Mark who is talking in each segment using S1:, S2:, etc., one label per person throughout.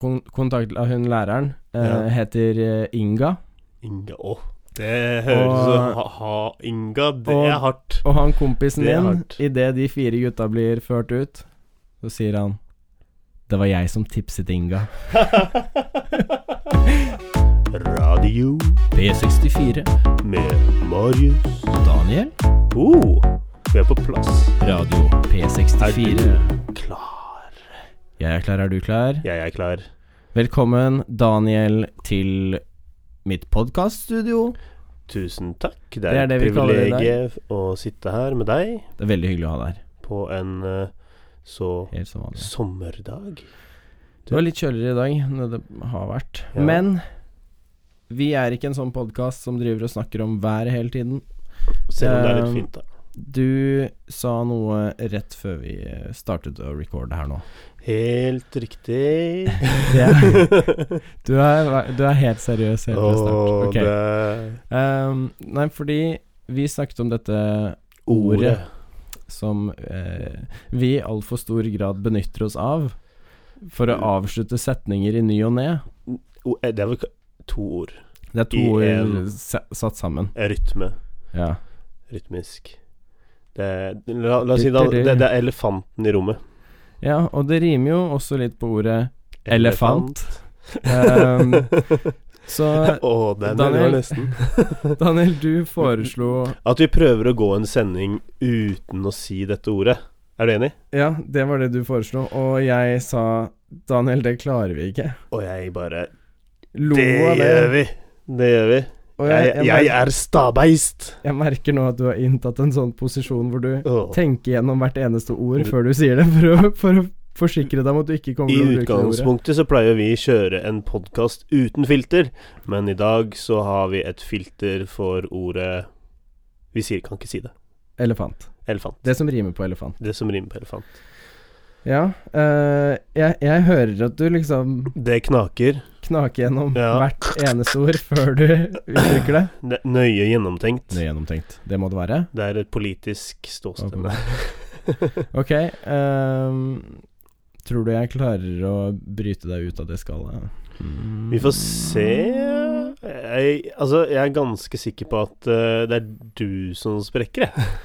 S1: kon kontakt av hun læreren. eh,
S2: Ja.
S1: Heter eh, Inga.
S2: Inga Å, det høres
S1: Og-
S2: så ha, ha, Inga, det
S1: og-
S2: er hardt.
S1: Og han kompisen
S2: Det er
S1: din,
S2: hardt.
S1: idet de fire gutta blir ført ut, så sier han Det var jeg som tipset Inga.
S2: Radio
S1: B64.
S2: med Marius.
S1: Daniel.
S2: Oh, vi er på plass.
S1: Radio P64.
S2: Er du klar?
S1: Jeg er klar, er du klar?
S2: Jeg er klar.
S1: Velkommen, Daniel, til mitt podkaststudio.
S2: Tusen takk. Det
S1: Det er
S2: er,
S1: det
S2: et
S1: vi kaller det i dag.
S2: privilegium å sitte her med deg
S1: Det er veldig hyggelig å ha deg her.
S2: på en eh, så
S1: Helt som vanlig.
S2: sommerdag.
S1: Det var litt kjøligere i dag enn det det har vært.
S2: Ja.
S1: Men vi er ikke en sånn podkast som driver og snakker om været hele tiden.
S2: Selv om det er
S1: Eh,
S2: litt fint, da.
S1: Du sa noe rett før vi eh, startet å recorde her nå.
S2: Helt riktig.
S1: Du er, du er helt seriøs helt fra start.
S2: Åh,
S1: Ok.
S2: det
S1: Ehm, nei, fordi vi snakket om dette
S2: ordet.
S1: Ordet. som eh, vi i altfor stor grad benytter oss av for å avslutte setninger i ny og ne.
S2: O- eh, Det er vel ka- to ord.
S1: Det er to
S2: I
S1: ord
S2: en-
S1: se- satt sammen.
S2: Rytme.
S1: Ja.
S2: Rytmisk. Det, la, la oss si da, det, det er elefanten i rommet.
S1: ja, og det rimer jo også litt på ordet elefant. Ehm, så
S2: Å, den den
S1: Daniel.
S2: var nesten.
S1: Daniel, du foreslo
S2: At vi prøver å gå en sending uten å si dette ordet. Er du enig?
S1: Ja, det var det du foreslo, og jeg sa Daniel, det klarer vi ikke.
S2: Og jeg bare
S1: Lo
S2: Det
S1: av
S2: gjør vi! Det gjør vi.
S1: Og
S2: Jeg,
S1: jeg, jeg,
S2: jeg
S1: mer-
S2: er stabeist!
S1: jeg merker nå at du har inntatt en sånn posisjon hvor du
S2: Åh.
S1: tenke gjennom hvert eneste ord før du sier det, for å, for å forsikre deg om at du ikke kommer
S2: I
S1: til å bruke det ordet.
S2: utgangspunktet så pleier vi å kjøre en podkast uten filter, men i dag så har vi et filter for ordet Vi sier, kan ikke si det.
S1: Elefant.
S2: Elefant.
S1: Det som rimer på elefant.
S2: Det som rimer på elefant.
S1: Ja, eh, jeg, jeg hører at du liksom
S2: Det knaker.
S1: knaker gjennom
S2: Ja.
S1: hvert eneste ord før du uttrykker det.
S2: Det er nøye gjennomtenkt.
S1: Det er gjennomtenkt. Det må det være.
S2: Det er et politisk ståsted.
S1: Ok. ehm, tror du jeg klarer å bryte deg ut av det skallet?
S2: Vi får se jeg, Altså, jeg er ganske sikker på at eh, det er du som sprekker, jeg.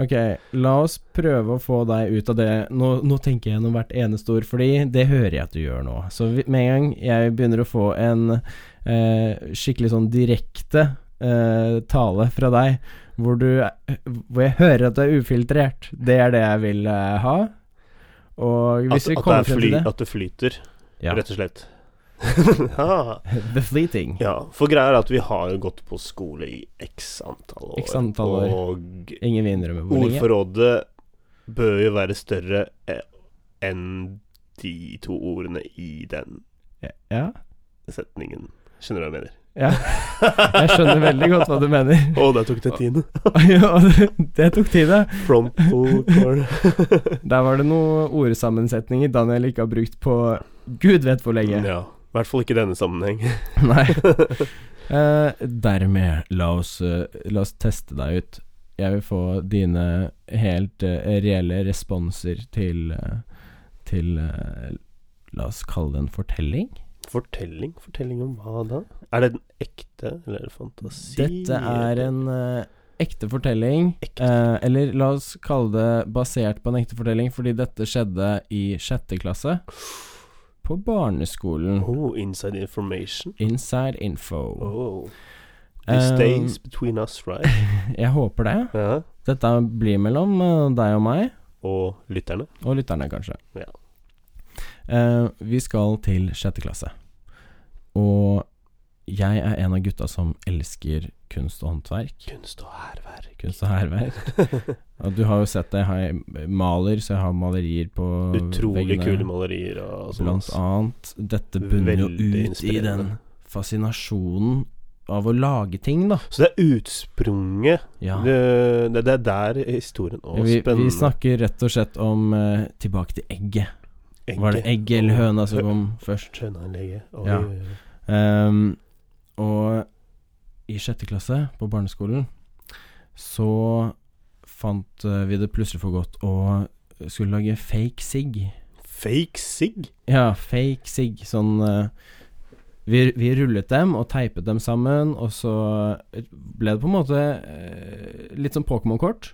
S1: Ok, la oss prøve å få deg ut av det. Nå, nå tenker jeg gjennom hvert eneste ord, fordi det hører jeg at du gjør nå. Så vi- med en gang jeg begynner å få en eh, skikkelig sånn direkte eh, tale fra deg, hvor, du, hvor jeg hører at du er ufiltrert, det er det jeg vil eh, ha. Og hvis
S2: At,
S1: vi
S2: at, det
S1: kommer
S2: er
S1: frem
S2: fly,
S1: til det
S2: at det flyter,
S1: Ja.
S2: rett og slett. ja.
S1: The fleeting.
S2: Ja, for greia er at vi har jo gått på skole i x antall år.
S1: X antall år.
S2: Og
S1: Ingen vil innrømme hvor lenge.
S2: ordforrådet bør jo være større eh, enn de to ordene i den
S1: Ja.
S2: setningen. Skjønner du hva jeg mener?
S1: ja. Jeg skjønner veldig godt hva du mener.
S2: Å, der tok det tiende.
S1: Ja, det- det tok tid, det.
S2: Frontal core.
S1: Der var det noen ordsammensetninger Daniel ikke har brukt på gud vet hvor lenge.
S2: ja. I hvert fall ikke i denne sammenheng.
S1: Nei. Eh, dermed, la oss, eh, la oss teste deg ut. Jeg vil få dine helt eh, reelle responser til eh, Til eh, La oss kalle det en fortelling.
S2: Fortelling? Fortelling om hva da? Er det den ekte, eller er det fantasi?
S1: Dette er en eh, ekte fortelling.
S2: Ekte.
S1: eh, eller la oss kalle det basert på en ekte fortelling, fordi dette skjedde i sjette klasse. På barneskolen.
S2: Oh, inside information.
S1: Inside info.
S2: Oh. This
S1: Eh,
S2: stays between us, right?
S1: jeg håper det.
S2: Ja.
S1: Dette blir mellom eh, deg og meg,
S2: Og lytterne.
S1: og lytterne kanskje.
S2: Ja.
S1: Eh, vi skal til sjette klasse. Og jeg er en av gutta som elsker kunst og håndverk.
S2: Kunst og hærverk.
S1: Kunst og hærverk. og du har jo sett det, jeg har- maler, så jeg har malerier på
S2: Utrolig
S1: veggene.
S2: kule malerier og sånn.
S1: Blant annet. Dette bunner jo
S2: Veldig
S1: ut i den
S2: inspirerende.
S1: fascinasjonen av å lage ting, da.
S2: Så det er utsprunget.
S1: Ja.
S2: Det, det, det er der historien Å,
S1: vi,
S2: spennende.
S1: vi snakker rett og slett om eh, tilbake til egget.
S2: Egget.
S1: Var det egget eller høna som
S2: Hø-
S1: kom først?
S2: Skjønner en lege. Oi,
S1: Ja.
S2: oi, oi.
S1: Ehm, og i sjette klasse på barneskolen så fant eh, vi det plutselig for godt å skulle lage fake sigg.
S2: Fake sigg?
S1: Ja, fake sigg. Sånn eh, vi, vi rullet dem og teipet dem sammen, og så eh, ble det på en måte eh, litt som Pokémon-kort.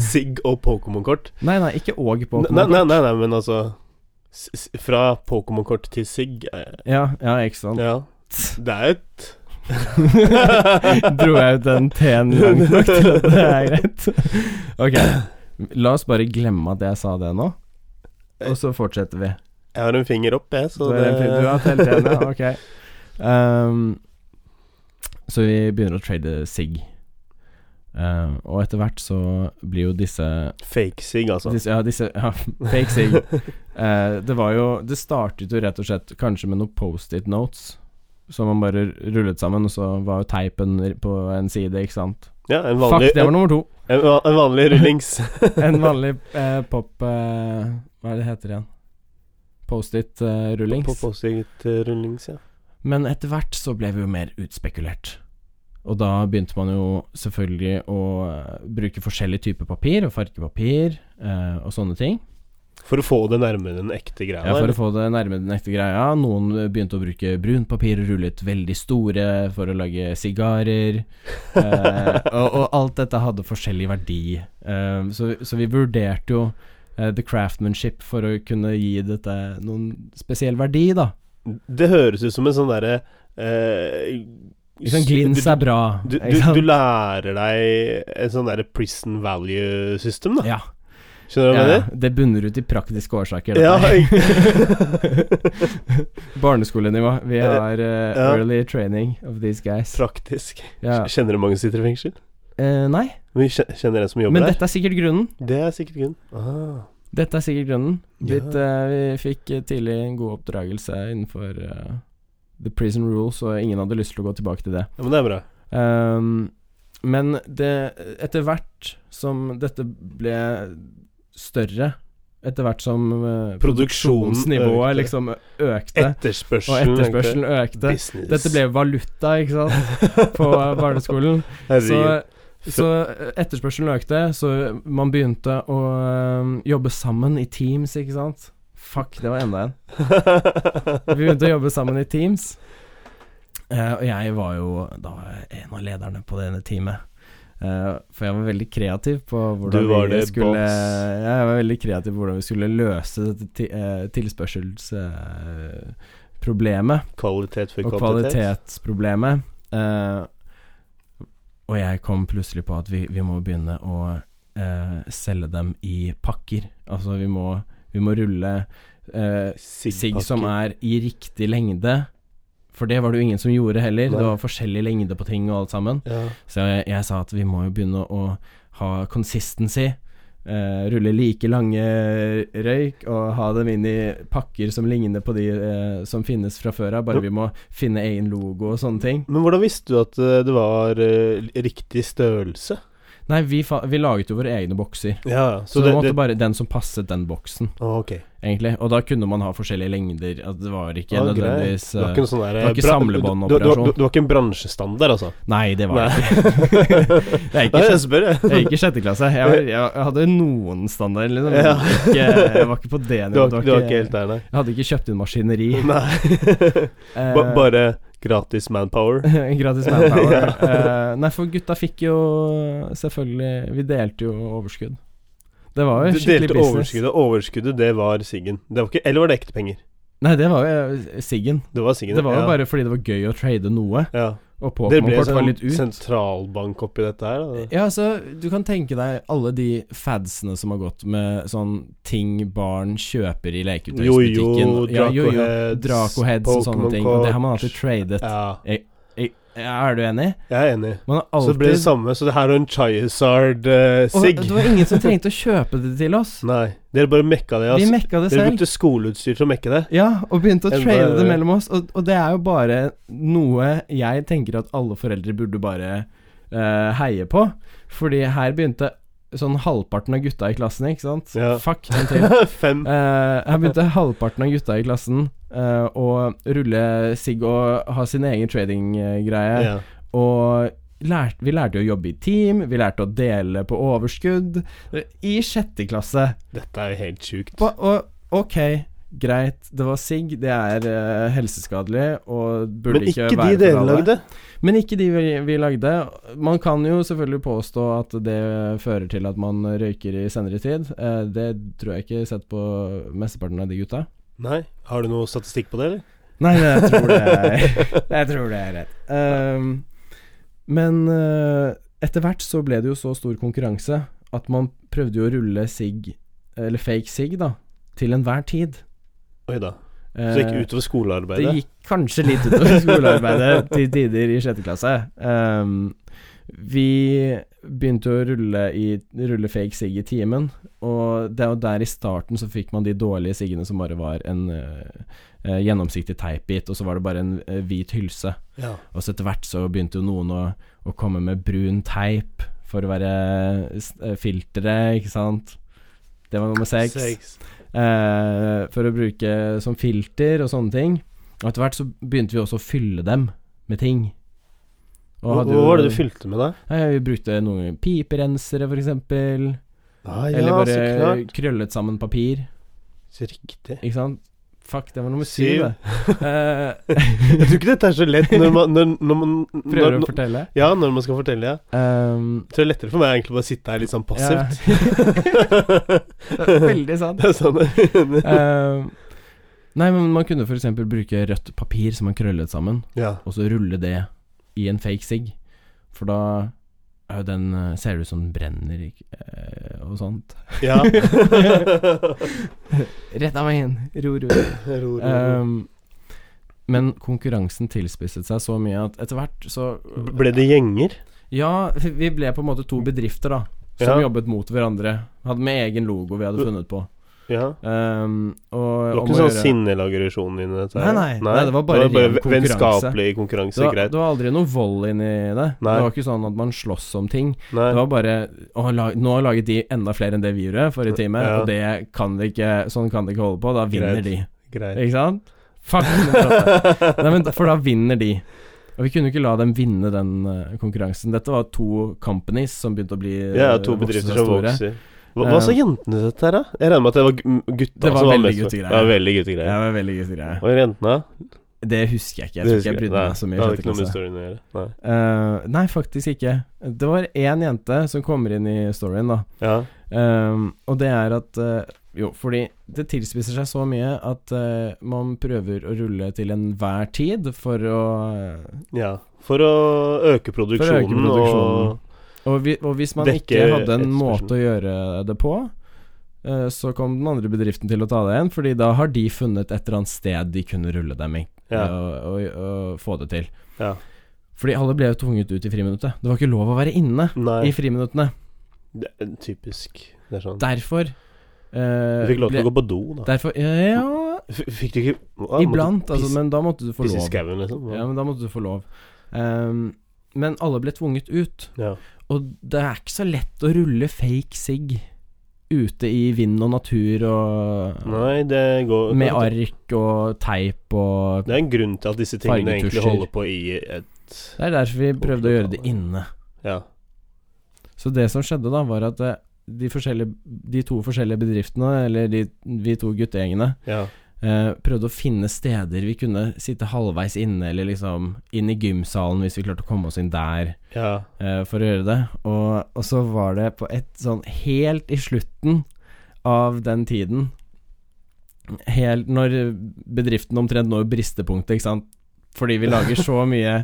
S2: Sigg og Pokémon-kort?
S1: Nei, nei, ikke og
S2: Nei, nei,
S1: Pokémon.
S2: nei, nei, men altså s- s- Fra Pokémon-kort til sigg eh,
S1: Ja, ja, ikke sant.
S2: Ja. Det er et
S1: Dro jeg ut den T-en langt nok til at det er greit? Ok, la oss bare glemme at jeg sa det nå, og så fortsetter vi.
S2: Jeg har en finger opp, jeg, så
S1: Du
S2: det
S1: er- Du har telt igjen, ja. Ok. Ehm, så vi begynner å trade sigg. Ehm, og etter hvert så blir jo disse,
S2: Fake sigg, altså.
S1: disse Ja, disse ja, Fake sigg. Eh, det var jo Det startet jo rett og slett kanskje med noen Post-it notes. Som man bare rullet sammen, og så var jo teipen på en side, ikke sant.
S2: Ja, en vanlig,
S1: Fuck, det var nummer to.
S2: en, va- en vanlig rullings.
S1: En vanlig eh, pop eh, Hva er det heter igjen? eh, Post-it-rullings.
S2: På Post-it-rullings, ja.
S1: Men etter hvert så ble vi jo mer utspekulert. Og da begynte man jo selvfølgelig å eh, bruke forskjellige typer papir, og fargepapir eh, og sånne ting.
S2: For å få det nærmere den ekte greia.
S1: Ja, for
S2: eller?
S1: å få det nærme den ekte greia. Noen eh, begynte å bruke brunt papir og rullet veldig store for å lage sigarer. Eh, og, og alt dette hadde forskjellig verdi. Eh, så, så vi vurderte jo eh, the craftmanship for å kunne gi dette noen spesiell verdi, da.
S2: Det høres ut som en sånn derre eh,
S1: Liksom glins er bra.
S2: Du,
S1: ikke
S2: du,
S1: sant?
S2: du lærer deg en sånn derre prison value system, da.
S1: ja.
S2: Skjønner du hva
S1: Ja,
S2: jeg mener?
S1: det bunner ut i praktiske årsaker.
S2: Ja,
S1: dette.
S2: jeg-
S1: Barneskolenivå. Vi har eh,
S2: Ja.
S1: early training of these guys.
S2: Praktisk.
S1: Ja.
S2: Kjenner du mange som sitter i fengsel?
S1: Eh, nei,
S2: Vi kje- kjenner en som jobber
S1: men
S2: der?
S1: dette er sikkert grunnen.
S2: Det er sikkert grunnen. Ah.
S1: Dette er sikkert grunnen.
S2: Ja.
S1: Blitt, eh, vi fikk eh, tidlig en god oppdragelse innenfor eh, the prison rules, og ingen hadde lyst til å gå tilbake til det.
S2: Ja, men det er bra.
S1: Ehm, men det Etter hvert som dette ble større, etter hvert som eh,
S2: Produksjonen økte.
S1: produksjonsnivået liksom økte, og
S2: Etterspørselen.
S1: etterspørselen økte
S2: Business.
S1: Dette ble valuta, ikke sant, på barneskolen. Så,
S2: Herregud.
S1: så etterspørselen økte, så man begynte å øhm, jobbe sammen i teams, ikke sant. Fuck, det var enda en. Vi begynte å jobbe sammen i teams. Eh, og jeg var jo da en av lederne på det ene teamet. Eh, for jeg var veldig kreativ på hvordan
S2: Du var
S1: vi
S2: det,
S1: skulle
S2: boss.
S1: Jeg var veldig kreativ på hvordan vi skulle løse dette ti, eh, tilspørselsproblemet
S2: Kvalitet for
S1: og
S2: kvantitet.
S1: kvalitetsproblemet. Eh, og jeg kom plutselig på at vi, vi må begynne å eh, selge dem i pakker. Altså, vi må, vi må rulle eh, sigg som er i riktig lengde. For det var det jo ingen som gjorde heller.
S2: Nei.
S1: Det var forskjellig lengde på ting og alt sammen.
S2: ja.
S1: Så jeg, jeg sa at vi må jo begynne å ha consistency. eh, rulle like lange røyk og ha dem inn i pakker som ligner på de eh, som finnes fra før av. Bare vi må finne egen logo og sånne ting.
S2: Men hvordan visste du at eh, det var eh, riktig størrelse?
S1: Nei, vi, fa vi laget jo våre egne bokser.
S2: Ja,
S1: Så,
S2: så,
S1: det
S2: det,
S1: måtte
S2: det
S1: bare den som passet den boksen,
S2: Å, Ok.
S1: egentlig. Og da kunne man ha forskjellige lengder. Altså, det var ikke
S2: Ah, greit.
S1: nødvendigvis
S2: Det var
S1: eh,
S2: ikke en sånn der,
S1: det var ikke
S2: bra-
S1: samlebåndoperasjon.
S2: du- du- du- du- Det var ikke en bransjestandard, altså?
S1: Nei, det var det ikke.
S2: Nei.
S1: Det er ikke
S2: Nei,
S1: sjette-
S2: jeg spør, jeg.
S1: Jeg gikk i sjette klasse. Jeg, var, jeg, jeg hadde noen standard, liksom. men
S2: Ja.
S1: Ikke, jeg var ikke på det
S2: Du
S1: nivået. Det
S2: var, du var ikke helt der, nei?
S1: Jeg hadde ikke kjøpt inn maskineri.
S2: Nei.
S1: Eh,
S2: Ba- Bare gratis manpower?
S1: Gratis manpower.
S2: Ja.
S1: Eh, nei, for gutta fikk jo selvfølgelig Vi delte jo overskudd. Det var jo
S2: Du
S1: skikkelig
S2: delte
S1: business.
S2: overskuddet. Overskuddet, det var siggen. Det var ikke, eller var det ekte penger?
S1: Nei, det var jo eh, siggen.
S2: Det var siggen.
S1: Det var jo
S2: ja.
S1: bare fordi det var gøy å trade noe,
S2: ja.
S1: og
S2: Det ble
S1: Pokémon-kort var
S2: sånn
S1: litt ut.
S2: sentralbank oppi dette her. Da.
S1: Ja, altså, du kan tenke deg alle de fadsene som har gått med sånn ting barn kjøper i leketøysbutikken.
S2: Jojo,
S1: Ja, jo, jo,
S2: Dracoheads,
S1: Dracoheads og sånne ting. Og det har man alltid tradet.
S2: Ja,
S1: Ja, er du enig?
S2: jeg er enig.
S1: Man har
S2: Så
S1: alltid
S2: det ble det samme. Så det her er en
S1: Og
S2: Chiazard-sigg.
S1: det var ingen som trengte å kjøpe det til oss.
S2: Nei, dere bare mekka altså, det.
S1: Vi
S2: ass.
S1: mekka det
S2: Dere
S1: selv.
S2: brukte skoleutstyr til å mekke det.
S1: Ja, og begynte å
S2: Enda-
S1: trade det mellom oss. Og, og det er jo bare noe jeg tenker at alle foreldre burde bare eh, heie på. Fordi her begynte sånn halvparten av gutta i klassen, ikke sant?
S2: Ja.
S1: Fuck, en til.
S2: Fem.
S1: Eh, her begynte halvparten av gutta i klassen eh, å rulle sigg og ha sin egen trading-greie.
S2: Ja.
S1: Og lærte, vi lærte jo å jobbe i team, vi lærte å dele på overskudd. I sjette klasse.
S2: Dette er jo helt sjukt.
S1: Ba- Og, og, Ok, greit, det var sigg, det er eh, helseskadelig og burde
S2: Men ikke
S1: ikke være
S2: de
S1: for
S2: dere
S1: alle.
S2: lagde.
S1: Men ikke de vi, vi lagde. Man kan jo selvfølgelig påstå at det fører til at man røyker i senere tid. Eh, det tror jeg ikke er sett på mesteparten av de gutta.
S2: Nei. Har du noe statistikk på det, eller?
S1: Nei, jeg tror det er, jeg tror det er rett. Ehm, men eh, etter hvert så ble det jo så stor konkurranse at man prøvde jo å rulle sigg, eller fake sigg, da, til enhver tid.
S2: Oi da. Så det gikk utover
S1: Eh,
S2: skolearbeidet?
S1: Det gikk kanskje litt utover skolearbeidet til tider i sjette klasse. Ehm, vi begynte å rulle, i, rulle fake sigg i timen, og det er jo der i starten så fikk man de dårlige siggene som bare var en eh, eh, gjennomsiktig teipbit, og så var det bare en eh, hvit hylse.
S2: Ja.
S1: Og så etter hvert så begynte jo noen å, å komme med brun teip for å være s- eh, filteret, ikke sant. Det var nummer seks
S2: Sex.
S1: eh, for å bruke som filter og sånne ting. Og etter hvert så begynte vi også å fylle dem med ting. Og
S2: Hva
S1: hadde
S2: hva
S1: jo-
S2: var det du fylte med, da?
S1: Nei, vi brukte noen ganger piperensere, for eksempel.
S2: Ah,
S1: Eller
S2: så
S1: bare
S2: klart.
S1: krøllet sammen papir.
S2: Så riktig.
S1: Ikke sant? Fuck, det var nummer syv,
S2: Syv.
S1: det. Eh,
S2: Jeg tror ikke dette er så lett når man, når, når man når,
S1: prøver å
S2: når,
S1: fortelle.
S2: Ja, når man skal fortelle, ja.
S1: Um,
S2: Jeg tror det er lettere for meg egentlig bare å sitte her litt sånn passivt.
S1: det er veldig sant.
S2: det er sånn
S1: Eh, nei, men man kunne f.eks. bruke rødt papir som man krøllet sammen.
S2: Ja.
S1: og så rulle det i en fake sigg. For da er jo den eh, Ser det ut som den brenner ikke- eh, og sånt.
S2: ja.
S1: Rett av veien! Ro, ro.
S2: Ro, ro, ro.
S1: Um, men konkurransen tilspisset seg så mye at etter hvert så
S2: Ble det gjenger?
S1: Ja, vi ble på en måte to bedrifter, da. Som jobbet mot hverandre. Hadde med egen logo vi hadde funnet på.
S2: ja.
S1: Um, og,
S2: Det var
S1: om å
S2: ikke sånn
S1: gjøre-
S2: sinnelaggresjon inni dette? her?
S1: Nei, nei. Nei, det var bare ren
S2: ve-
S1: konkurranse.
S2: vennskapelig konkurranse.
S1: det var,
S2: greit.
S1: det var aldri noe vold inni det.
S2: Nei.
S1: Det var ikke sånn at man sloss om ting.
S2: Nei.
S1: Det var bare å, la, Nå har laget de enda flere enn det vi gjorde forrige time,
S2: Ja.
S1: og det kan de ikke Sånn kan de ikke holde på. Da vinner
S2: Greit.
S1: de,
S2: greit.
S1: ikke sant? Fuck! Nei, men, for da vinner de. Og vi kunne ikke la dem vinne den eh, konkurransen. Dette var to companies som begynte å bli eh,
S2: Ja, to
S1: vokse
S2: bedrifter
S1: seg
S2: som
S1: store. Eh,
S2: vokser. Hva, hva sa jentene til dette her, da? Jeg regner med at det var gu- gutta
S1: Det var
S2: som var
S1: veldig
S2: mest med.
S1: guttegreier.
S2: Det var veldig
S1: Ja,
S2: guttegreier.
S1: Det var veldig gøy greie.
S2: Og jentene?
S1: Det husker jeg ikke. Jeg
S2: Det
S1: tror
S2: husker
S1: ikke jeg brydde
S2: Nei,
S1: meg så mye. altså.
S2: Det
S1: i sjette
S2: hadde ikke noe med
S1: klasse.
S2: storyen å gjøre. Nei.
S1: Eh, nei, faktisk ikke. Det var én jente som kommer inn i storyen, da.
S2: Ja.
S1: Um, og det er at eh, Jo, fordi det tilspisser seg så mye at eh, man prøver å rulle til enhver tid for å eh,
S2: ja. For å øke produksjonen,
S1: produksjonen. og, vi, og hvis man
S2: Dekke
S1: ikke hadde en
S2: etterspørselen.
S1: måte å gjøre det på, eh, så kom den andre bedriften til å ta det igjen, fordi da har de funnet et eller annet sted de kunne rulle dem i, eh,
S2: og ja.
S1: og, og, og få det til.
S2: Ja.
S1: Fordi alle ble jo tvunget ut i friminuttet. Det var ikke lov å være inne
S2: Nei,
S1: i friminuttene.
S2: det er typisk. Det er sånn.
S1: Derfor
S2: Du
S1: eh,
S2: fikk lov til
S1: ble-
S2: å gå på do, da.
S1: Derfor Ja
S2: F- Fikk du ikke ah,
S1: Iblant, altså,
S2: pisse-
S1: men da måtte du få
S2: Pisse i
S1: lov.
S2: skauen, liksom?
S1: Ja, men da måtte du få lov. Ehm, men alle ble tvunget ut,
S2: ja.
S1: og det er ikke så lett å rulle fake sigg ute i vind og natur og
S2: Nei, det går
S1: Med ark og teip og
S2: Det er en grunn til at disse tingene egentlig
S1: Fargetusjer.
S2: holder på i et
S1: Det er derfor vi prøvde å gjøre det inne.
S2: Ja.
S1: Så det som skjedde da, var at eh, de, forskjellige, de to forskjellige bedriftene, eller de, vi to guttegjengene,
S2: ja.
S1: Eh, prøvde å finne steder vi kunne sitte halvveis inne, eller liksom inn i gymsalen hvis vi klarte å komme oss inn der
S2: ja.
S1: eh, for å gjøre det. Og, og så var det på et sånn helt i slutten av den tiden Helt når bedriften omtrent når bristepunktet, ikke sant. Fordi vi lager så mye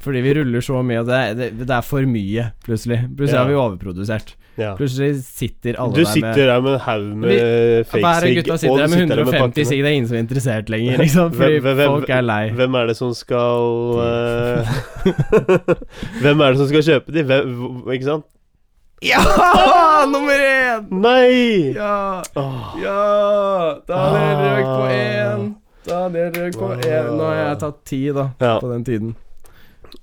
S1: Fordi vi ruller så mye, og det er, det, det er for mye, plutselig. Plutselig
S2: Ja.
S1: har vi overprodusert.
S2: ja.
S1: Plutselig sitter alle
S2: Du
S1: der med
S2: sitter der med en haug med fake
S1: hver av
S2: sigg,
S1: gutta
S2: og
S1: sitter
S2: du
S1: der med
S2: der
S1: 150
S2: pakkene.
S1: sigg, det er ingen som er interessert lenger, liksom. Fordi
S2: Hvem- hvem- hvem-
S1: folk er lei.
S2: Hvem er det som skal eh, Hvem er det som skal kjøpe de? Hvem, hv- ikke sant?
S1: Ja! Nummer én!
S2: Nei!
S1: Ja!
S2: Åh,
S1: Ja! Daniel
S2: Ah.
S1: røk på én. Daniel røk på én. Nå har jeg tatt ti, da,
S2: Ja.
S1: på den tiden.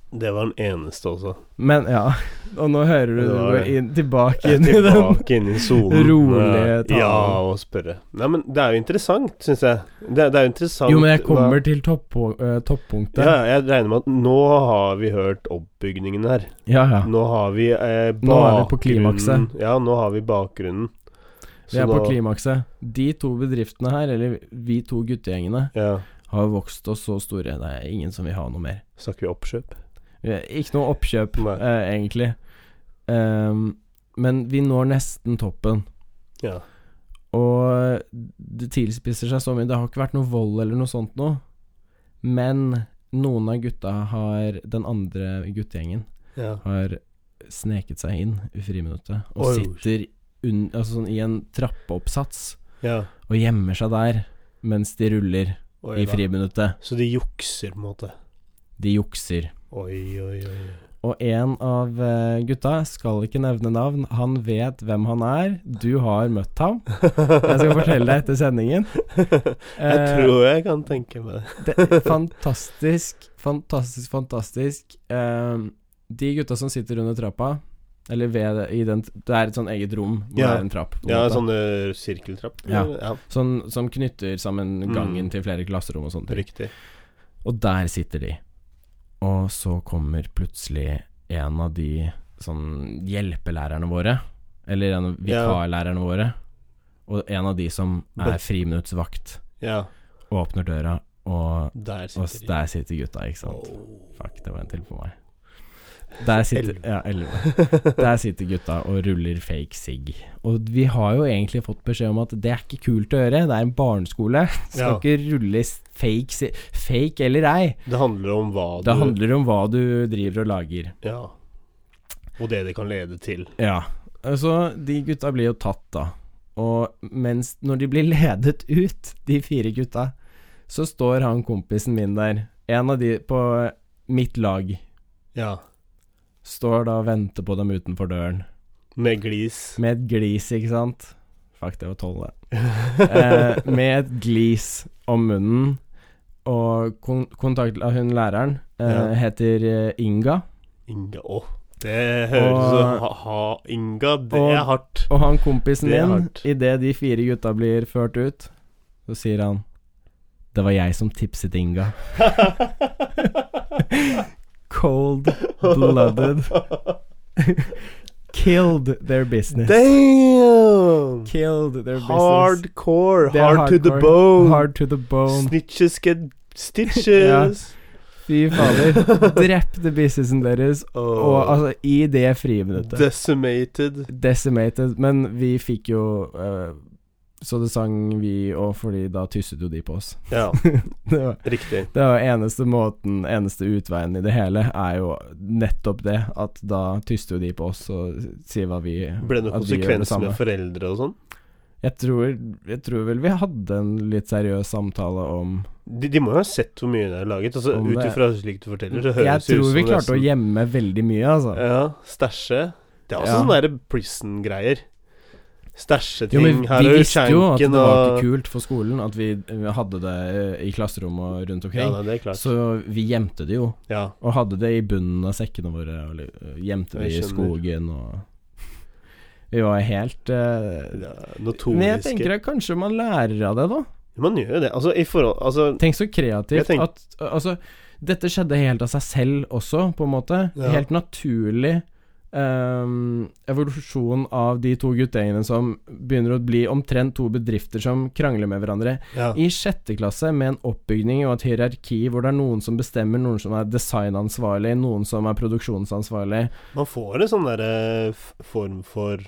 S2: Det var den eneste, altså.
S1: Men ja. Og nå hører du
S2: Det
S1: det
S2: var
S1: går
S2: det.
S1: inn, tilbake inn i den.
S2: Tilbake inn i solen. eh,
S1: rolige talen.
S2: Ja, og spørre. Nei, men det er jo interessant, syns jeg. Det, det er jo interessant
S1: Jo, men jeg
S2: hva-
S1: kommer til toppo- eh, toppunktet.
S2: ja, Jeg regner med at nå har vi hørt oppbygningene her.
S1: ja. ja.
S2: Nå har vi eh, bakgrunnen
S1: Nå er vi på klimakset.
S2: Ja, nå har vi bakgrunnen.
S1: Vi er på klimakset. De to bedriftene her, eller vi to guttegjengene,
S2: Ja.
S1: har vokst oss så store. Det er ingen som vil ha noe mer.
S2: Snakker vi oppkjøp?
S1: Vi er Ikke noe oppkjøp,
S2: Nei.
S1: eh, egentlig. Ehm, men vi når nesten toppen.
S2: Ja.
S1: Og det tilspisser seg så mye. Det har ikke vært noe vold eller noe sånt noe. Men noen av gutta har Den andre guttegjengen
S2: ja.
S1: har sneket seg inn i friminuttet og
S2: Oi.
S1: sitter unn- altså sånn i en trappeoppsats
S2: ja.
S1: og gjemmer seg der mens de ruller i
S2: Oi, da.
S1: friminuttet.
S2: Så de jukser, på en måte.
S1: De jukser.
S2: Oi, oi, oi.
S1: Og en av eh, gutta, skal ikke nevne navn, han vet hvem han er. Du har møtt ham. Jeg skal fortelle deg etter sendingen.
S2: Jeg
S1: Eh,
S2: tror jeg kan tenke meg det.
S1: det, fantastisk, fantastisk, fantastisk. Ehm, de gutta som sitter under trappa, eller ved det, i den, det er et sånn eget rom hvor
S2: Ja.
S1: det er en trapp. på en
S2: Ja, sånn-
S1: måte.
S2: sånne sirkeltrapp.
S1: Ja.
S2: ja.
S1: Sånn som knytter sammen
S2: Mm.
S1: gangen til flere klasserom og sånt.
S2: Riktig.
S1: Og der sitter de. Og så kommer plutselig en av de sånn hjelpelærerne våre, eller en av
S2: Ja.
S1: vikarlærerne våre, og en av de som er
S2: Bet-
S1: friminuttsvakt,
S2: Ja,
S1: åpner døra, og,
S2: der
S1: og
S2: sitter de.
S1: der sitter gutta, ikke sant.
S2: Oh.
S1: Fuck, det var en til på meg. Der sitter,
S2: Elleve.
S1: ja, elleve. Der sitter gutta og ruller fake sigg. Og vi har jo egentlig fått beskjed om at det er ikke kult å gjøre, det er en barneskole. Skal
S2: Ja.
S1: ikke rulle s- fake sigg Fake eller ei,
S2: Det handler om hva du
S1: det handler om hva du driver og lager.
S2: Ja. Og det det kan lede til.
S1: Ja. Så de gutta blir jo tatt, da. Og mens når de blir ledet ut, de fire gutta, så står han kompisen min der, en av de på mitt lag,
S2: Ja.
S1: står da og venter på dem utenfor døren.
S2: Med glis.
S1: Med et glis, ikke sant? Fuck, det var tolv, det. Eh, med et glis om munnen. Og kon kontakt av hun læreren eh,
S2: Ja.
S1: heter eh, Inga.
S2: Inga Å, det høres
S1: Og-
S2: ut ha, ha, Inga, det
S1: og-
S2: er hardt.
S1: Og han kompisen
S2: Det er
S1: min,
S2: hardt.
S1: idet de fire gutta blir ført ut, så sier han Det var jeg som tipset Inga. Cold blooded. Killed their business.
S2: Damn!
S1: Killed their business.
S2: Hardcore.
S1: Det er
S2: Hard to the
S1: hardcore.
S2: bone.
S1: Hard to the bone.
S2: Snitches get stitches.
S1: Fy fader. Drepte businessen deres Og
S2: Åh.
S1: altså, i det friminuttet
S2: Decimated.
S1: Decimated. Men vi fikk jo eh, Så det sang vi òg, fordi da tysset jo de på oss.
S2: Ja,
S1: Det var,
S2: riktig.
S1: det var eneste måten, eneste utveien i det hele, er jo nettopp det. At da tyster jo de på oss og sier hva vi
S2: Ble det noen
S1: at vi gjør det
S2: konsekvenser
S1: samme.
S2: med foreldre og sånn?
S1: Jeg tror, jeg tror vel vi hadde en litt seriøs samtale om
S2: De, de må jo ha sett hvor mye det er laget. Altså,
S1: Om
S2: Ut
S1: det-
S2: ifra slik du forteller, så
S1: Jeg
S2: høres det ut
S1: tror
S2: som Eh,
S1: vi klarte å gjemme veldig mye, altså.
S2: Ja, stæsje. Det er også
S1: Ja.
S2: sånne der prison-greier.
S1: Jo, men
S2: Stæsjeting. Her
S1: vi
S2: er jo
S1: visste jo at det
S2: skjenken
S1: var ikke
S2: og
S1: kult for skolen at vi eh, hadde det eh, i klasserommet og rundt
S2: Ja,
S1: omkring.
S2: nei, det er klart.
S1: Så vi gjemte det jo,
S2: Ja.
S1: og hadde det i bunnen av sekkene våre. Og li- øh, gjemte det
S2: Jeg
S1: i
S2: skjønner.
S1: skogen og Vi var helt eh,
S2: ja
S1: Men jeg tenker
S2: notoriske
S1: at kanskje man lærer av det, da.
S2: Man gjør jo det. Altså, i forhold Altså,
S1: Tenk så
S2: Jeg
S1: kreativt
S2: tenk-
S1: at øh, Altså, dette skjedde helt av seg selv også, på en måte.
S2: Ja.
S1: Helt naturlig. ehm, evolusjon av de to guttegjengene som begynner å bli omtrent to bedrifter som krangler med hverandre.
S2: ja.
S1: I sjette klasse, med en oppbygning og et hierarki hvor det er noen som bestemmer, noen som er designansvarlig, noen som er produksjonsansvarlig
S2: Man får en sånn derre form for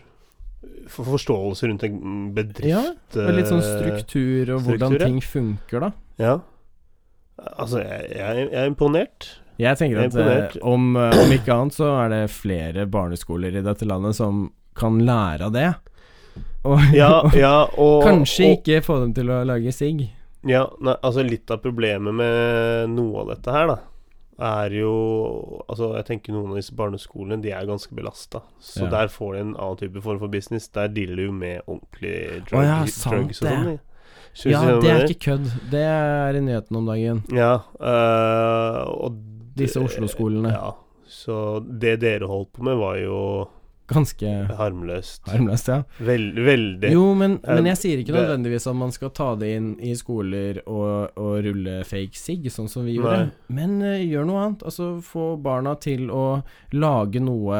S2: for forståelse rundt en bedrift.
S1: Ja, og Litt sånn
S2: eh,
S1: struktur og hvordan
S2: struktur, ja.
S1: ting funker, da.
S2: Ja. Altså, jeg, jeg, jeg er imponert.
S1: Jeg tenker at
S2: Jeg er imponert.
S1: eh, om, eh, om ikke annet så er det flere barneskoler i dette landet som kan lære av det. Og
S2: Ja, ja, og
S1: kanskje
S2: og-
S1: ikke få dem til å lage sigg.
S2: Ja, nei, altså litt av problemet med noe av dette her, da, er jo Altså, jeg tenker noen av disse barneskolene, de er ganske belasta. Så
S1: Ja.
S2: der får de en annen type form for business. Der dealer du med ordentlige drug,
S1: Å ja,
S2: drugs
S1: sant
S2: og
S1: det.
S2: sånn. Skjønner
S1: Ja,
S2: du hva jeg
S1: det er
S2: mener?
S1: ikke kødd. Det er i nyheten om dagen.
S2: Ja, øh, og
S1: Disse Oslo-skolene.
S2: Ja. Så det dere holdt på med, var jo
S1: Ganske
S2: harmløst.
S1: harmløst, ja.
S2: Vel, veldig.
S1: Jo, men, men
S2: Eh,
S1: jeg sier ikke
S2: det-
S1: nødvendigvis at man skal ta det inn i skoler og, og rulle fake sigg, sånn som vi gjorde. Men eh, gjør noe annet. Altså, få barna til å lage noe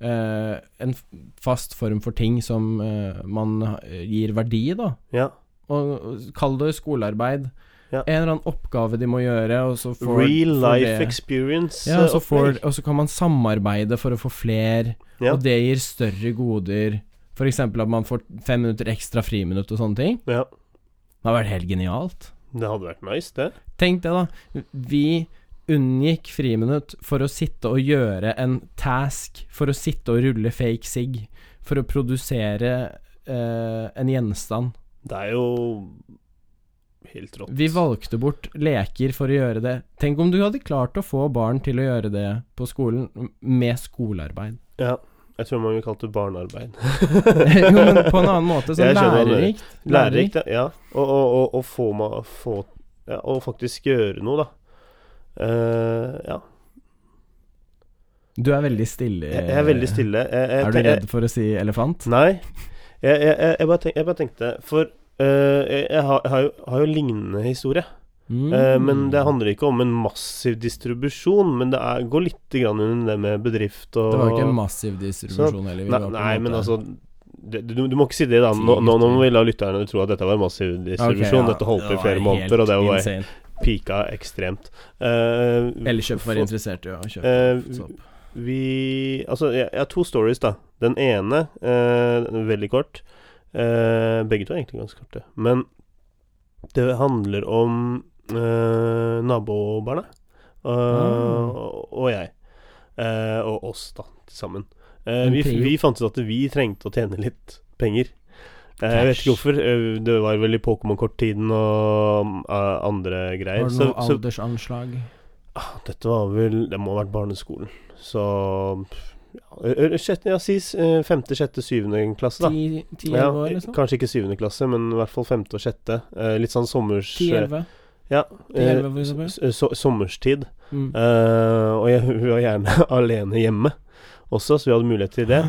S1: eh, en f- fast form for ting som eh, man ha- gir verdi, da.
S2: Ja.
S1: Og, og kall det skolearbeid.
S2: Ja.
S1: En eller annen oppgave de må gjøre, og så får
S2: Real
S1: får
S2: life
S1: det-
S2: experience.
S1: ja,
S2: eh,
S1: og så, får,
S2: opplegg.
S1: og så kan man samarbeide for å få fler,
S2: Ja.
S1: og det gir større goder. F.eks. at man får fem minutter ekstra friminutt og sånne ting.
S2: ja.
S1: Det har vært helt genialt.
S2: Det hadde vært nice, det.
S1: Tenk det, da. Vi unngikk friminutt for å sitte og gjøre en task, for å sitte og rulle fake sig, for å produsere eh, en gjenstand.
S2: Det er jo helt rått.
S1: Vi valgte bort leker for å gjøre det. Tenk om du hadde klart å få barn til å gjøre det på skolen, m- med skolearbeid.
S2: Ja. Jeg tror mange kalte det barnearbeid.
S1: jo, men på en annen måte, sånn
S2: Jeg skjønner hva du mener.
S1: lærerikt.
S2: Lærerikt, ja. ja. Og, og, og, og få, ma- få ja, Og faktisk gjøre noe, da. Eh, ja.
S1: Du er veldig stille.
S2: Jeg, jeg er veldig stille. Jeg, jeg,
S1: Er du
S2: jeg-
S1: redd for å si elefant?
S2: Nei. Jeg, jeg, jeg, jeg, bare, tenk, jeg bare tenkte For eh, jeg, jeg, har, jeg har, jo, har jo lignende historie.
S1: Mm.
S2: Eh, men det handler ikke om en massiv distribusjon. Men det er, går litt grann under det med bedrift og
S1: Det var jo ikke en massiv distribusjon heller. vi
S2: Nei,
S1: var på en
S2: nei men
S1: måte-
S2: altså det, du, du må ikke si det, da. Nå, nå, nå må vi la lytterne tro at dette var en massiv
S1: Ok,
S2: distribusjon.
S1: ja.
S2: Dette holdt på
S1: Det
S2: i
S1: var
S2: flere måneder, og det
S1: helt
S2: var
S1: insane.
S2: pika ekstremt. Eh,
S1: Elkjøp var
S2: for-
S1: interessert i å kjøpe
S2: Eh,
S1: sopp.
S2: Vi Altså, jeg, jeg har to stories, da. Den ene, eh, den er veldig kort. Eh, begge to er egentlig ganske korte. Men det handler om eh, nabobarna. Eh,
S1: Ah.
S2: og, og jeg. Eh, og oss, da, til sammen. Eh,
S1: En
S2: vi,
S1: trio.
S2: vi fant ut at vi trengte å tjene litt penger. Eh, jeg vet
S1: Cash.
S2: ikke hvorfor. eh, Det var vel i Pokémon-korttiden og eh, andre greier.
S1: Har du
S2: Så,
S1: noe
S2: så
S1: aldersanslag?
S2: Ah, Dette var vel Det må ha vært barneskolen. Så ja, ø- ø- sjette, ja, si eh, femte, sjette, syvende klasse, da.
S1: Ti-elleve
S2: Ja,
S1: år, liksom?
S2: Kanskje ikke syvende klasse, men i hvert fall femte og sjette. Eh, Litt sånn sommers...
S1: Ti-elleve?
S2: Ja. eh,
S1: Ti-elleve, for eksempel?
S2: s- s- so- Sommerstid.
S1: Mm.
S2: Eh, og jeg hun var gjerne alene hjemme også, så vi hadde mulighet til det.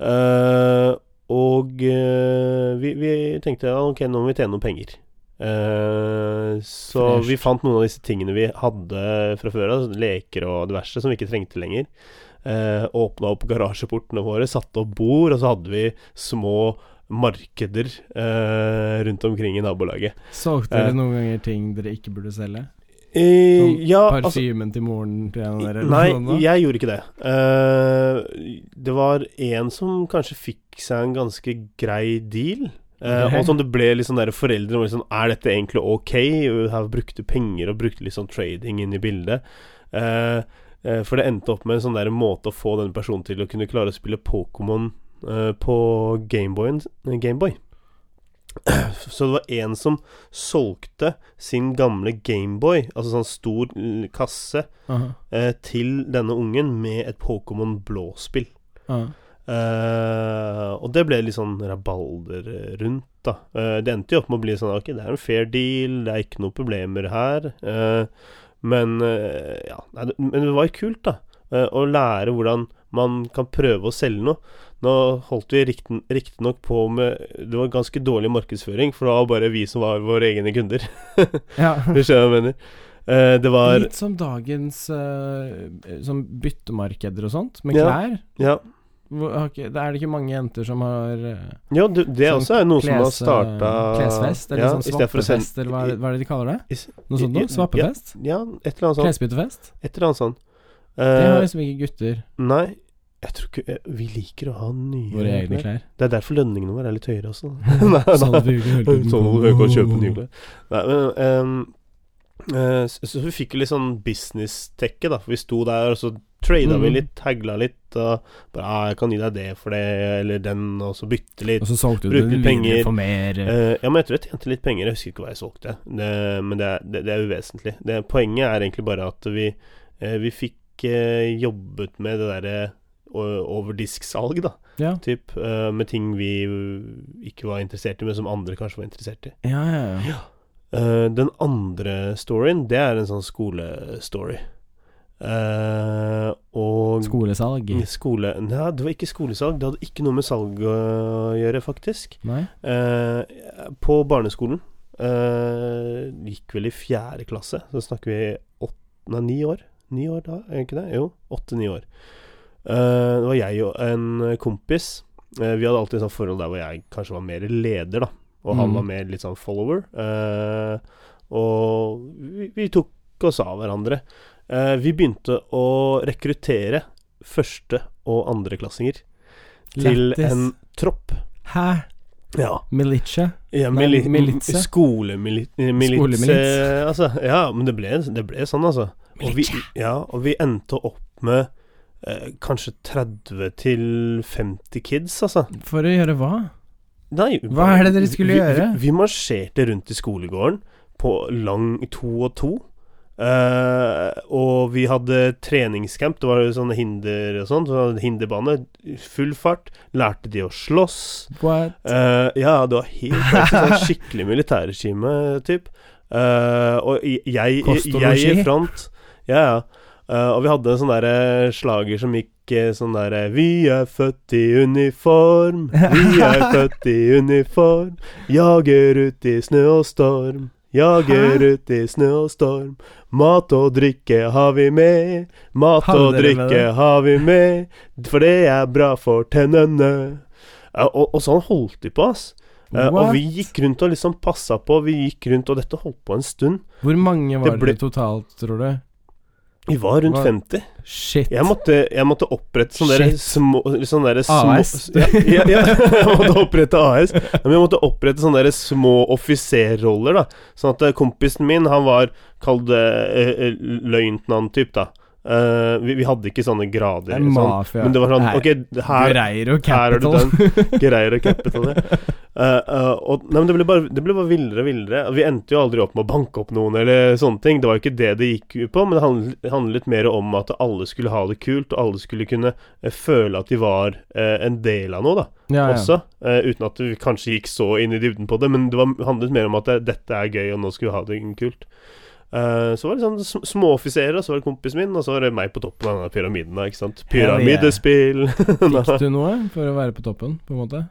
S2: Eh, og eh, vi, vi tenkte ja, ok, nå må vi tjene noen penger. Eh, så
S1: Fresht.
S2: vi fant noen av disse tingene vi hadde fra før av, sånn leker og diverse, som vi ikke trengte lenger. Uh, Åpna opp garasjeportene våre, satte opp bord, og så hadde vi små markeder eh, rundt omkring i nabolaget.
S1: Solgte
S2: eh,
S1: dere noen ganger ting dere ikke burde selge?
S2: Eh,
S1: Sånn
S2: ja, altså-
S1: Parfymen til moren til en av dere? eller
S2: Nei,
S1: noe sånt da?
S2: jeg gjorde ikke det. Eh, det var en som kanskje fikk seg en ganske grei deal. eh,
S1: Ok.
S2: Og sånn det ble litt sånn der foreldre var litt sånn Er dette egentlig ok? Og Her brukte penger og brukte litt sånn trading inn i bildet. Eh, eh, for det endte opp med en sånn der måte å få denne personen til å kunne klare å spille Pokémon eh, på Gameboyen eh, Gameboy. Så det var en som solgte sin gamle Gameboy, altså sånn stor eh, kasse,
S1: Aha,
S2: eh, til denne ungen med et Pokémon blå-spill.
S1: aha.
S2: Eh, og det ble litt sånn rabalder eh, rundt, da. Eh, det endte jo opp med å bli sånn Ok, det er en fair deal, det er ikke noen problemer her. Eh, men eh, ja nei, det, Men det var jo kult, da. eh, å lære hvordan man kan prøve å selge noe. Nå holdt vi riktignok på med Det var ganske dårlig markedsføring, for det var bare vi som var våre egne kunder.
S1: Ja.
S2: Hvis du skjønner hva jeg mener. Eh, det var
S1: Litt som dagens eh, sånn byttemarkeder og sånt, med
S2: Ja.
S1: klær.
S2: Ja.
S1: Hvor, har ikke, det er det ikke mange jenter som har eh,
S2: Ja, du, det
S1: Sånn
S2: også er noe som har
S1: kles-
S2: starta
S1: Klesfest, eller
S2: ja,
S1: sånn
S2: i stedet for å sende-
S1: svappefest, eller hva, er det- hva er det de kaller det?
S2: i s-
S1: Noe sånt
S2: i-
S1: noe? Svappefest?
S2: Ja, et eller annet sånt.
S1: Klesbyttefest?
S2: Et eller annet sånt.
S1: Det
S2: Eh,
S1: har liksom ikke gutter,
S2: nei, jeg tror ikke eh, Vi liker å ha nye
S1: våre egne klær.
S2: Det er derfor lønningene våre er litt høyere også. nei, nei.
S1: Sånn at vi ikke hører på-
S2: Sånn at du kan kjøpe nye klær. Nei, men ehm, eh, så, så vi fikk jo litt sånn business-tekke, da. For vi sto der, og så trada vi
S1: Mhm.
S2: litt, tagla litt. Og bare ah, 'Jeg kan gi deg det for det, eller den', og så bytte litt.
S1: Og så solgte du
S2: Brukte
S1: den
S2: penger.
S1: videre for mer. eh,
S2: Eh, ja, men jeg tror jeg tjente litt penger. Jeg husker ikke hva jeg solgte. Det, men det er, det, det er uvesentlig. Det, poenget er egentlig bare at vi, eh, vi fikk eh, jobbet med det derre eh, overdisksalg, da.
S1: Ja.
S2: Typ, eh, med ting vi eh, ikke var interessert i, men som andre kanskje var interessert i.
S1: Ja, ja, ja.
S2: Eh, den andre storyen, det er en sånn skolestory. Eh, og
S1: Skolesalg.
S2: Skole... Nei, det var ikke skolesalg. Det hadde ikke noe med salg å gjøre, faktisk.
S1: Nei?
S2: Eh, på barneskolen eh, gikk vel i fjerde klasse, så snakker vi åtte, nei, ni år. Ni år da, er det ikke det? Jo, åtte-ni år. Eh, det var jeg og en kompis. Eh, vi hadde alltid sånn forhold der hvor jeg kanskje var mer leder, da. Og han
S1: Mm.
S2: var mer litt sånn follower. Eh, og vi, vi tok oss av hverandre. Eh, vi begynte å rekruttere første- og andreklassinger til
S1: Lættis.
S2: en tropp.
S1: Hæ?
S2: Ja.
S1: Militia?
S2: Ja,
S1: Nei,
S2: mili
S1: militse.
S2: Skolemilitse.
S1: Skolemilits.
S2: Altså, ja, men det ble, det ble sånn, altså. Og vi, ja, og vi endte opp med eh, kanskje 30 til 50 kids, altså.
S1: For å gjøre hva?
S2: Nei,
S1: Hva er det dere skulle
S2: vi,
S1: gjøre?
S2: Vi, vi marsjerte rundt i skolegården på lang to og to. Eh, og vi hadde treningscamp, det var jo sånne hinder og sånn. så Hinderbane, full fart. Lærte de å slåss.
S1: What?
S2: Eh, ja, det var helt faktisk sånn skikkelig militærregime, typ. Eh, og i- jeg,
S1: Kost og
S2: jeg i
S1: losji.
S2: front. Ja, ja. Eh, og vi hadde en sånn derre slager som gikk eh, sånn derre Vi er født i uniform, vi er født i uniform. Jager ut i snø og storm. Jager
S1: Hæ?
S2: ut i snø og storm. Mat og drikke har vi med. Mat
S1: Hadde
S2: og
S1: dere med
S2: drikke
S1: det?
S2: har vi med, for det er bra for tennene. Ja, og, og sånn holdt de på, ass. Eh, og
S1: What?
S2: vi gikk rundt og liksom passa på, vi gikk rundt, og dette holdt på en stund.
S1: Hvor mange var
S2: Det ble-
S1: det totalt, tror du?
S2: Vi var rundt
S1: Hva?
S2: 50.
S1: Shit.
S2: Jeg måtte, jeg måtte opprette sånne der
S1: Shit.
S2: små sånne der
S1: AS.
S2: Små, ja, ja, ja, jeg måtte opprette AS. Ja, Men jeg måtte opprette sånne der små offiserroller, da. Sånn at eh, kompisen min, han var kall det eh, eh, løytnant-typ, da. Eh, vi, vi hadde ikke sånne grader.
S1: Det er
S2: Sånn.
S1: mafia.
S2: Men det var sånn
S1: Nei,
S2: Ok, her
S1: Guerreiro
S2: her er det
S1: Capital.
S2: greier å cappe til det. Eh, eh, og, nei, men det ble bare, det ble bare villere og villere. Vi endte jo aldri opp med å banke opp noen eller sånne ting. Det var jo ikke det det gikk ut på, men det handlet, handlet mer om at alle skulle ha det kult, og alle skulle kunne eh, føle at de var eh, en del av noe, da,
S1: ja, ja.
S2: også. Eh, uten at vi kanskje gikk så inn i dybden på det, men det var, handlet mer om at det, dette er gøy, og nå skal vi ha det kult. Eh, så var det sånn sm- småoffiserer, og så var det kompisen min, og så var det meg på toppen av denne pyramiden, da, ikke sant.
S1: Hell yeah.
S2: Pyramidespill.
S1: Fikk du noe for å være på toppen, på en måte?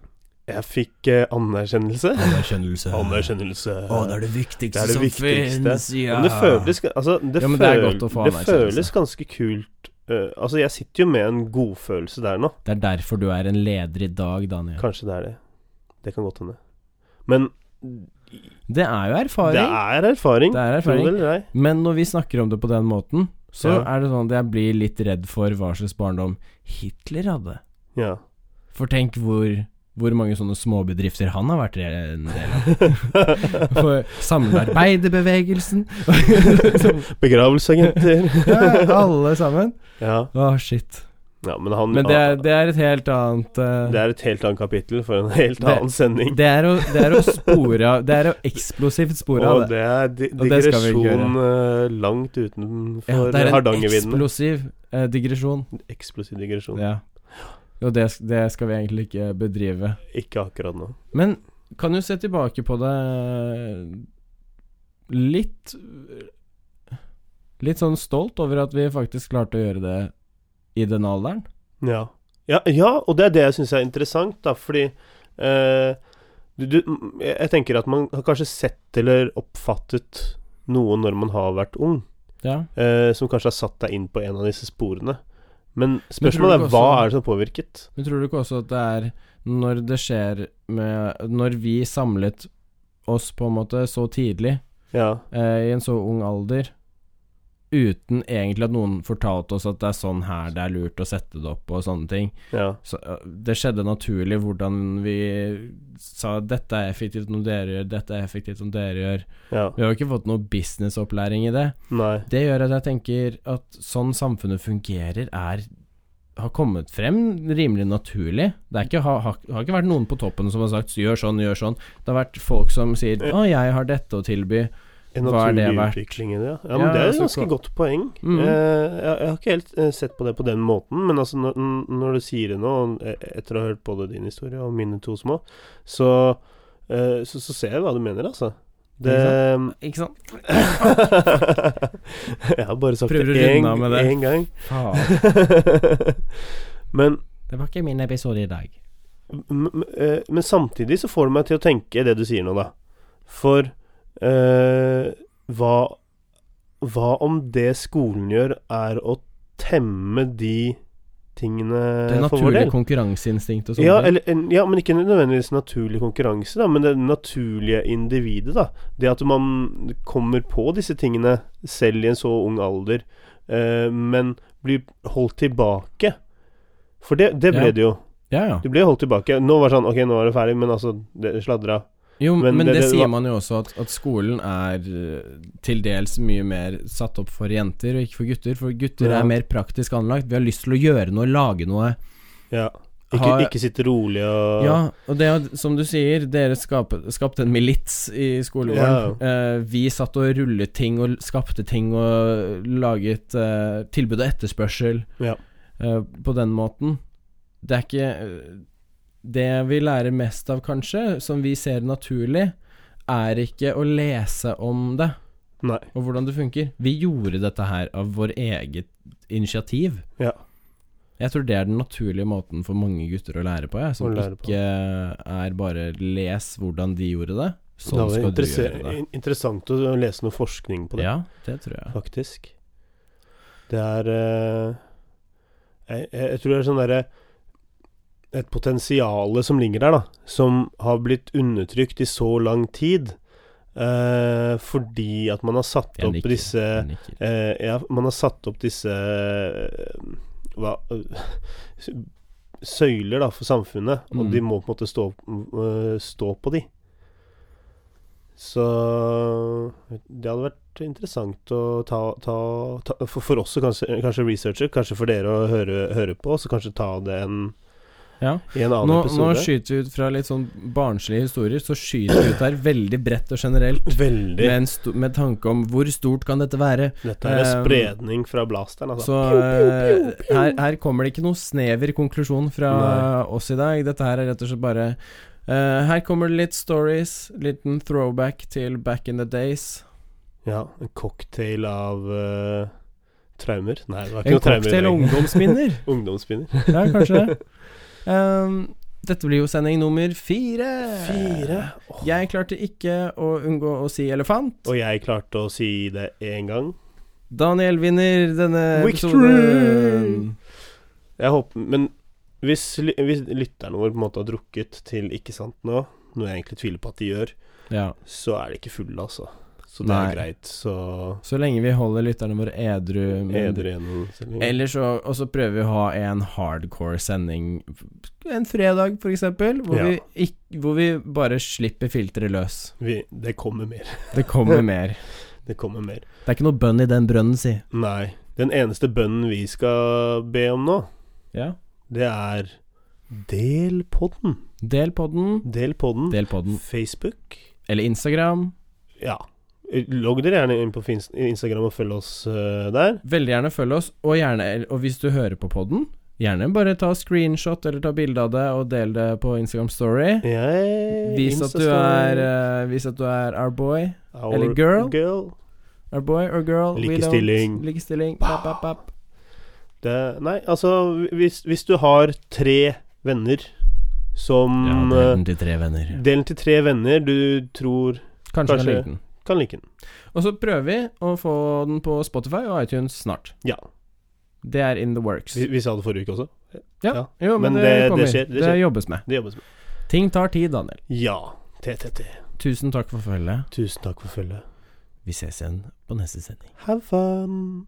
S2: Jeg fikk eh, anerkjennelse.
S1: Anerkjennelse.
S2: Anerkjennelse.
S1: er det viktigste
S2: Det er det som viktigste. finnes, Men det føles, altså, det
S1: Ja, men det er
S2: føl-
S1: godt å få
S2: det
S1: anerkjennelse.
S2: føles ganske kult eh, Altså, jeg sitter jo med en godfølelse der nå.
S1: Det er derfor du er en leder i dag, Daniel.
S2: Kanskje det er det. Det kan godt hende. Men
S1: Det er jo
S2: det
S1: erfaring.
S2: er erfaring.
S1: Det er
S2: Tro det
S1: erfaring.
S2: eller ei.
S1: Men når vi snakker om det på den måten, så
S2: Ja.
S1: er det sånn at jeg blir litt redd for hva slags barndom Hitler hadde.
S2: Ja.
S1: For tenk hvor, hvor mange sånne småbedrifter han har vært en del av. For Samarbeiderbevegelsen.
S2: Begravelseagenter.
S1: ja, alle sammen.
S2: ja.
S1: Å, shit.
S2: ja, men han
S1: Men det er, det er et helt annet eh,
S2: det er et helt annet kapittel for en helt
S1: Det-
S2: annen sending.
S1: Det er å, det er å spore av Det er å eksplosivt spore av
S2: Og
S1: det.
S2: det er di
S1: Og det skal vi ikke
S2: digresjon eh, langt utenfor
S1: Ja, det er en
S2: Hardangervidda.
S1: eksplosiv eh, digresjon.
S2: Eksplosiv digresjon.
S1: Ja. Og det, det skal vi egentlig ikke bedrive.
S2: Ikke akkurat nå.
S1: Men kan jo se tilbake på det eh, litt Litt sånn stolt over at vi faktisk klarte å gjøre det i den alderen.
S2: Ja. Ja, ja og det er det jeg syns er interessant, da, fordi eh, du, du, m- Jeg jeg tenker at man har kanskje sett eller oppfattet noe når man har vært ung,
S1: Ja.
S2: eh, som kanskje har satt deg inn på en av disse sporene. Men
S1: Men tror du
S2: spørsmålet
S1: ikke
S2: er hva
S1: også-
S2: er det som har påvirket?
S1: Men tror du ikke også at det er når det skjer med Når vi samlet oss på en måte så tidlig
S2: Ja.
S1: eh, i en så ung alder, uten egentlig at noen fortalte oss at det er sånn her det er lurt å sette det opp, og sånne ting.
S2: ja.
S1: Så, eh, det skjedde naturlig hvordan vi sa dette er effektivt når dere gjør, dette er effektivt når dere gjør.
S2: Ja.
S1: Vi har jo ikke fått noe businessopplæring i det.
S2: Nei.
S1: Det gjør at jeg tenker at sånn samfunnet fungerer, er har kommet frem rimelig naturlig. Det er ikke, har, har, har ikke vært noen på toppen som har sagt 'gjør sånn, gjør sånn'. Det har vært folk som sier 'å, jeg har dette å tilby'.
S2: En
S1: Hva er
S2: naturlig
S1: det verdt?
S2: utvikling i det. Ja, ja men
S1: Ja,
S2: Det er et
S1: altså,
S2: ganske
S1: hva-
S2: godt poeng.
S1: Mm.
S2: Eh, jeg, jeg har ikke helt eh, sett på det på den måten, men altså når, når du sier det nå, og e- etter å ha hørt både din historie og mine to små, så, eh, så, så ser jeg hva du mener, altså. Det Mm. ehm,
S1: Ikke sant?
S2: Jeg har bare sagt
S1: Prøver å
S2: det
S1: runde
S2: én
S1: av med det.
S2: én gang.
S1: Faen.
S2: men
S1: Det var ikke min episode i dag.
S2: Eh, M- m- eh, Men samtidig så får det meg til å tenke det du sier nå, da. For eh, hva Hva om det skolen gjør, er å temme de tingene
S1: Det er
S2: for vår
S1: naturlig
S2: del.
S1: konkurranseinstinkt og sånn.
S2: Ja, eller, en- ja, men ikke nødvendigvis naturlig konkurranse, da, men det naturlige individet. da Det at man kommer på disse tingene selv i en så ung alder, eh, men blir holdt tilbake. For det, det
S1: Ja.
S2: ble det jo.
S1: ja, ja.
S2: Du ble holdt tilbake. Nå var det sånn Ok, nå er det ferdig, men altså det Sladra.
S1: Jo, men,
S2: Men det-
S1: det,
S2: det var-
S1: sier man jo også, at, at skolen er eh, til dels mye mer satt opp for jenter og ikke for gutter. For gutter
S2: Ja.
S1: er mer praktisk anlagt. Vi har lyst til å gjøre noe, lage noe.
S2: Ja. Ikke,
S1: Har-
S2: ikke sitte rolig og
S1: Ja, og det er som du sier, dere skapte, skapte en milits i skolegården. Eh, vi satt og rullet ting og skapte ting og laget eh, tilbud og etterspørsel
S2: Ja.
S1: eh, på den måten. Det er ikke eh, Det vi lærer mest av, kanskje, som vi ser naturlig, er ikke å lese om det
S2: Nei.
S1: og hvordan det funker. Vi gjorde dette her av vår eget initiativ.
S2: Ja.
S1: Jeg tror det er den naturlige måten for mange gutter å lære på, jeg, som
S2: Å lære på.
S1: ikke er bare les hvordan de gjorde det.
S2: det
S1: Sånn
S2: var
S1: skal du
S2: interesse-
S1: gjøre det.
S2: in- interessant å lese noe forskning på det.
S1: Ja, det tror jeg.
S2: faktisk. Det er eh, jeg, jeg jeg tror det er sånn derre Et potensial som ligger der, da. Som har blitt undertrykt i så lang tid. eh, fordi at man har satt
S1: Jeg
S2: opp
S1: nikker,
S2: disse
S1: jeg nikker.
S2: eh, Ja, man har satt opp disse eh, Hva Søyler, da, for samfunnet.
S1: Mm.
S2: Og de må på en måte stå, eh, stå på de. Så det hadde vært interessant å ta, ta, ta for, for oss å kanskje, kanskje researche, kanskje for dere å høre, høre på, så kanskje ta det en,
S1: Ja.
S2: i en annen
S1: Nå, nå
S2: episode.
S1: skyter vi ut fra litt sånn barnslige historier, så skyter vi ut her veldig bredt og generelt. Med,
S2: Veldig.
S1: en sto med tanke om hvor stort kan dette være.
S2: Dette er en
S1: eh,
S2: spredning fra blasteren, altså.
S1: Så eh, her, her kommer det ikke noe snever konklusjon fra oss i dag. Dette her er rett og slett bare eh, Her kommer det litt stories, liten throwback til back in the days.
S2: Ja, en cocktail av eh, traumer. Nei, det var ikke
S1: En
S2: noe traumer. i
S1: cocktail
S2: dag.
S1: og ungdomsminner.
S2: Ungdomsspinner.
S1: ja, kanskje det. Ehm, dette blir jo sending nummer fire.
S2: Åh.
S1: Jeg klarte ikke å unngå å si elefant.
S2: Og jeg klarte å si det én gang.
S1: Daniel vinner denne
S2: Victory!
S1: episoden.
S2: Jeg håper, Men hvis, ly- hvis lytteren vår på en måte har drukket til ikke sant nå, noe jeg egentlig tviler på at de gjør,
S1: Ja.
S2: så er de ikke fulle, altså. Så det
S1: Nei.
S2: er greit. Så
S1: Så lenge vi holder lytterne våre edru. men-
S2: edru gjennom sendingen.
S1: Eller så, og så prøver vi å ha en hardcore sending en fredag, for eksempel, hvor,
S2: Ja.
S1: vi ikk- hvor vi bare slipper filteret løs.
S2: Vi, det kommer mer.
S1: Det kommer mer.
S2: Det kommer mer.
S1: Det er ikke noe bønn i den brønnen, si.
S2: Nei. Den eneste bønnen vi skal be om nå,
S1: Ja.
S2: det er del podden.
S1: Del podden.
S2: Del podden.
S1: Del podden.
S2: Facebook.
S1: Eller Instagram.
S2: Ja. Logg dere gjerne inn på Fins- Instagram og følg oss eh, der.
S1: Veldig gjerne følg oss, og, gjerne, og hvis du hører på podden, gjerne bare ta screenshot eller ta bilde av det og del det på Instagram Story.
S2: Jeg
S1: Vis at du
S2: Instastory.
S1: er, eh, vis at du er our boy.
S2: Our
S1: eller girl.
S2: girl.
S1: Our boy or girl. we don't-
S2: Likestilling.
S1: Likestilling. Bap, bap, bap.
S2: Det, nei, altså hvis, hvis du har tre venner som
S1: Ja, det er
S2: eh,
S1: den til tre venner.
S2: Delen til tre venner du tror
S1: Kanskje,
S2: Kanskje-
S1: Kanskje. den.
S2: kan like den.
S1: Og så prøver vi å få den på Spotify og iTunes snart.
S2: Ja.
S1: Det er in the works.
S2: Vi, vi sa det forrige uke også.
S1: Ja,
S2: ja.
S1: Jo, men, det, kommer. Det,
S2: skjer, det skjer.
S1: jobbes med.
S2: Det jobbes med.
S1: Ting tar tid, Daniel.
S2: Ja. TTT.
S1: Tusen takk for følget.
S2: Tusen takk for følget.
S1: Vi ses igjen på neste sending.
S2: Have fun.